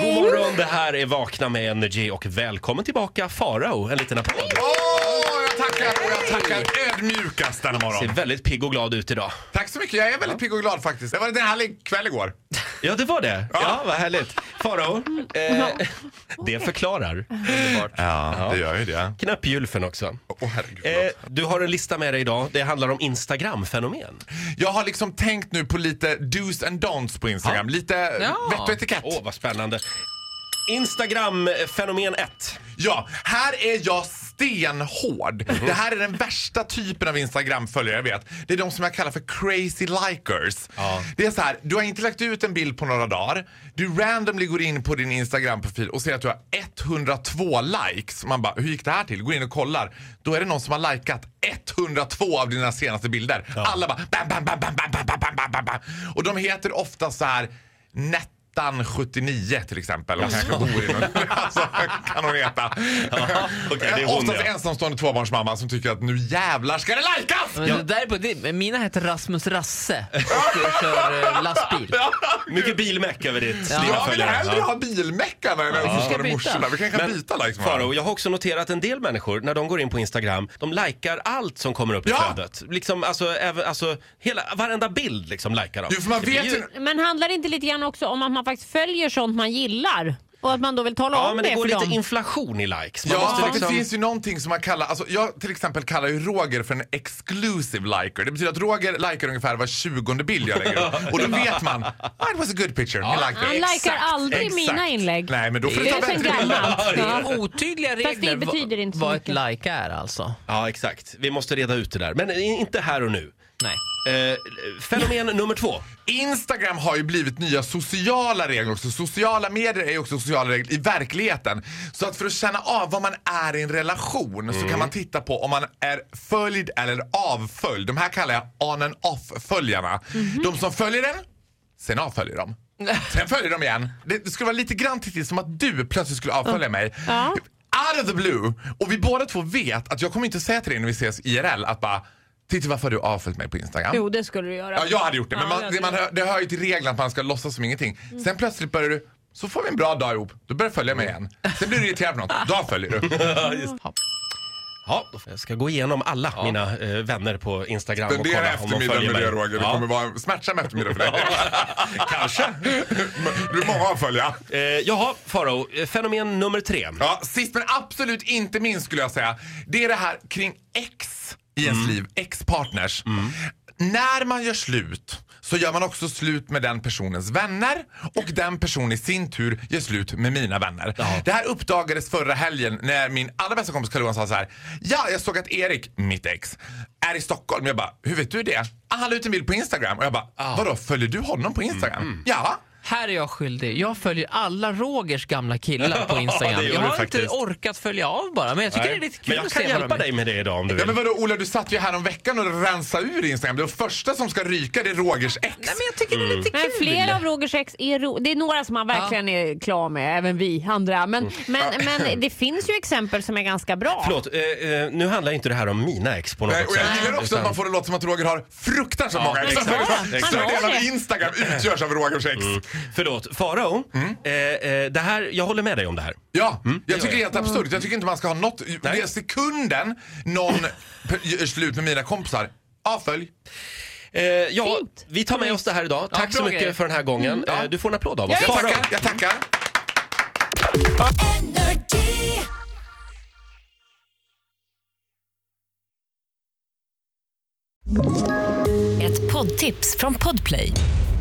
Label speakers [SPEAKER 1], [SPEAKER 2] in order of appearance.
[SPEAKER 1] God morgon, det här är Vakna med Energy och välkommen tillbaka Farao. En liten applåd.
[SPEAKER 2] Åh, jag tackar, jag tackar ödmjukast denna
[SPEAKER 1] Ser
[SPEAKER 2] morgon.
[SPEAKER 1] väldigt pigg och glad ut idag.
[SPEAKER 2] Tack så mycket, jag är väldigt pigg och glad faktiskt. Det var en härlig kväll igår.
[SPEAKER 1] Ja, det var det. Ja, vad härligt. Farao, eh, det förklarar.
[SPEAKER 2] Ja, det gör ju det.
[SPEAKER 1] Knäpp julfen också.
[SPEAKER 2] Åh herregud.
[SPEAKER 1] Eh,
[SPEAKER 2] förlåt.
[SPEAKER 1] du har en lista med dig idag. Det handlar om Instagram-fenomen.
[SPEAKER 2] Jag har liksom tänkt nu på lite do's and don'ts på Instagram. Lite
[SPEAKER 3] Ja.
[SPEAKER 2] vett och etikett.
[SPEAKER 1] Åh, vad spännande. Instagram-fenomen 1.
[SPEAKER 2] Ja, här är jag stenhård. Det här är den värsta typen av Instagram-följare jag vet. Det är de som jag kallar för crazy likers.
[SPEAKER 1] Ja.
[SPEAKER 2] Det är så här, du har inte lagt ut en bild på några dagar. Du randomly går in på din Instagram-profil och ser att du har 102 likes. Man bara, hur gick det här till? Går in och kollar. Då är det någon som har likat 102 av dina senaste bilder. Alla bara bam, bam, bam, bam, bam, bam, bam, bam, bam, bam, bam. Och de heter ofta så här Nettan 79 till exempel. Och kanske bor i någon, alltså, kan hon heta.
[SPEAKER 1] okej, det är hon,
[SPEAKER 2] Oftast
[SPEAKER 1] ja.
[SPEAKER 2] ensamstående tvåbarnsmamma som tycker att nu jävlar ska det likas!
[SPEAKER 3] Men det där är på, det, mina heter Rasmus Rasse och kör eh, lastbil.
[SPEAKER 1] Mycket bilmäck över ditt
[SPEAKER 3] Ja.
[SPEAKER 1] dina
[SPEAKER 2] Jag vill
[SPEAKER 1] följare.
[SPEAKER 2] hellre
[SPEAKER 1] Ja.
[SPEAKER 2] ha bilmeckarna än ensamstående
[SPEAKER 3] Vi ska byta.
[SPEAKER 2] morsorna. Vi kanske kan
[SPEAKER 1] Men,
[SPEAKER 2] byta likes med varandra.
[SPEAKER 1] Faro, jag har också noterat en del människor, när de går in på Instagram, de likar allt som kommer upp i
[SPEAKER 2] Ja!
[SPEAKER 1] flödet. Liksom, alltså, även, alltså, hela, varenda bild liksom likar de.
[SPEAKER 2] Jo, för man
[SPEAKER 1] Det blir
[SPEAKER 2] vet
[SPEAKER 1] ju-
[SPEAKER 2] ju...
[SPEAKER 4] Men handlar det inte lite grann också om att man faktiskt följer sånt man gillar? Och att man då vill tala
[SPEAKER 1] Ja,
[SPEAKER 4] om
[SPEAKER 1] men
[SPEAKER 4] det,
[SPEAKER 1] det går
[SPEAKER 4] för
[SPEAKER 1] lite
[SPEAKER 4] dem?
[SPEAKER 1] inflation i likes. Man
[SPEAKER 2] Ja,
[SPEAKER 1] måste
[SPEAKER 2] för
[SPEAKER 1] liksom...
[SPEAKER 2] det finns ju någonting som man kallar, alltså jag till exempel kallar ju Roger för en exclusive liker. Det betyder att Roger likar ungefär var tjugonde bild jag lägger upp. Och då vet man, ah, it was a good picture, he liked it.
[SPEAKER 4] Han likar aldrig mina inlägg.
[SPEAKER 2] Nej, men då får
[SPEAKER 4] det
[SPEAKER 2] du
[SPEAKER 4] är
[SPEAKER 2] ta
[SPEAKER 4] sen
[SPEAKER 2] bättre
[SPEAKER 4] gammalt. Ja.
[SPEAKER 3] Otydliga
[SPEAKER 4] Fast det
[SPEAKER 3] regler va-
[SPEAKER 4] betyder inte så
[SPEAKER 3] vad
[SPEAKER 4] mycket.
[SPEAKER 3] ett like är alltså.
[SPEAKER 1] Ja, exakt. Vi måste reda ut det där. Men i- inte här och nu.
[SPEAKER 3] Nej.
[SPEAKER 1] Eh, fenomen nummer två.
[SPEAKER 2] Instagram har ju blivit nya sociala regler också. Sociala medier är ju också sociala regler i verkligheten. Så att för att känna av vad man är i en relation så
[SPEAKER 4] Mm.
[SPEAKER 2] kan man titta på om man är följd eller avföljd. De här kallar jag on and off-följarna.
[SPEAKER 4] Mhm.
[SPEAKER 2] De som följer en, sen avföljer de. Sen följer de igen. Det skulle vara lite grann till som att du plötsligt skulle avfölja mig.
[SPEAKER 4] Ja.
[SPEAKER 2] Out of the blue! Och vi båda två vet att jag kommer inte säga till dig när vi ses IRL att bara Titta varför har du avföljt mig på Instagram?
[SPEAKER 4] Jo, det skulle du göra.
[SPEAKER 2] Ja, jag hade gjort det.
[SPEAKER 4] Ja,
[SPEAKER 2] Men man,
[SPEAKER 4] det hade
[SPEAKER 2] det, Mm. man
[SPEAKER 4] du.
[SPEAKER 2] hör, det hör ju till reglerna att man ska låtsas som ingenting. Sen plötsligt börjar du, så får vi en bra dag ihop, då börjar du följa
[SPEAKER 1] Mm.
[SPEAKER 2] mig igen. Sen blir du irriterad på något, då följer du.
[SPEAKER 1] Ja, jag ska gå igenom alla mina eh, vänner på Instagram och
[SPEAKER 2] Fundera
[SPEAKER 1] kolla om de
[SPEAKER 2] eftermiddagen
[SPEAKER 1] följer mig.
[SPEAKER 2] med det Roger, det
[SPEAKER 1] Ja,
[SPEAKER 2] kommer vara en smärtsam eftermiddag för dig.
[SPEAKER 1] Kanske.
[SPEAKER 2] Du är många att följa.
[SPEAKER 1] Eh, jaha, Faro, eh, fenomen nummer tre.
[SPEAKER 2] Ja, sist men absolut inte minst skulle jag säga, det är det här kring ex i ens liv, ex-partners. När man gör slut så gör man också slut med den personens vänner och den personen i sin tur gör slut med mina vänner. Det här uppdagades förra helgen när min allra bästa kompis Carl-Johan sa så här. Ja, jag såg att Erik, mitt ex, är i Stockholm. Jag bara, hur vet du det? Ah, han la ut en bild på Instagram och jag bara, vadå följer du honom på Instagram? Ja.
[SPEAKER 3] Här är jag skyldig. Jag följer alla Rogers gamla killar på
[SPEAKER 1] Ja,
[SPEAKER 3] Instagram.
[SPEAKER 1] det gör
[SPEAKER 3] jag
[SPEAKER 1] du
[SPEAKER 3] har inte
[SPEAKER 1] faktiskt.
[SPEAKER 3] orkat följa av bara, men jag tycker det är lite kul
[SPEAKER 1] Men jag
[SPEAKER 3] att
[SPEAKER 1] kan
[SPEAKER 3] se vad
[SPEAKER 1] hjälpa
[SPEAKER 3] de-
[SPEAKER 1] dig med det idag om du
[SPEAKER 2] Ja
[SPEAKER 1] vill.
[SPEAKER 2] men vadå Ola, du satt ju här om veckan och rensade ur Instagram. Det första som ska ryka det är Rogers ex.
[SPEAKER 3] Nej, men jag tycker det är lite
[SPEAKER 4] Mm. Men
[SPEAKER 3] kul.
[SPEAKER 4] flera av Rogers ex är ro- Det är några som han verkligen är klar med, även vi andra. Men, men, men det finns ju exempel som är ganska bra.
[SPEAKER 1] Förlåt, eh, eh, nu handlar inte det här om mina ex på något
[SPEAKER 2] Nej, och
[SPEAKER 1] sätt.
[SPEAKER 2] jag gillar också
[SPEAKER 1] Utan-
[SPEAKER 2] att man får det låta som att Roger har fruktansvärt många ex.
[SPEAKER 1] exakt.
[SPEAKER 4] Exakt.
[SPEAKER 2] Större delen
[SPEAKER 4] Han har
[SPEAKER 2] av
[SPEAKER 4] det.
[SPEAKER 2] Instagram utgörs av Rogers ex.
[SPEAKER 1] Förlåt, Farao.
[SPEAKER 2] Mm.
[SPEAKER 1] Eh, eh, det här, jag håller med dig om det här.
[SPEAKER 2] Ja, jag tycker det är helt absurt. Jag tycker inte man ska ha något. Det är sekunden någon p- gör slut med mina kompisar, avfölj.
[SPEAKER 1] Eh, ja,
[SPEAKER 4] Fint.
[SPEAKER 1] vi tar med oss det här idag. Tack så
[SPEAKER 3] bra
[SPEAKER 1] mycket
[SPEAKER 3] grej.
[SPEAKER 1] för den här gången. Eh, du får en applåd av oss.
[SPEAKER 2] Jag
[SPEAKER 1] Farao.
[SPEAKER 2] tackar, jag tackar.
[SPEAKER 5] Ett poddtips från Podplay.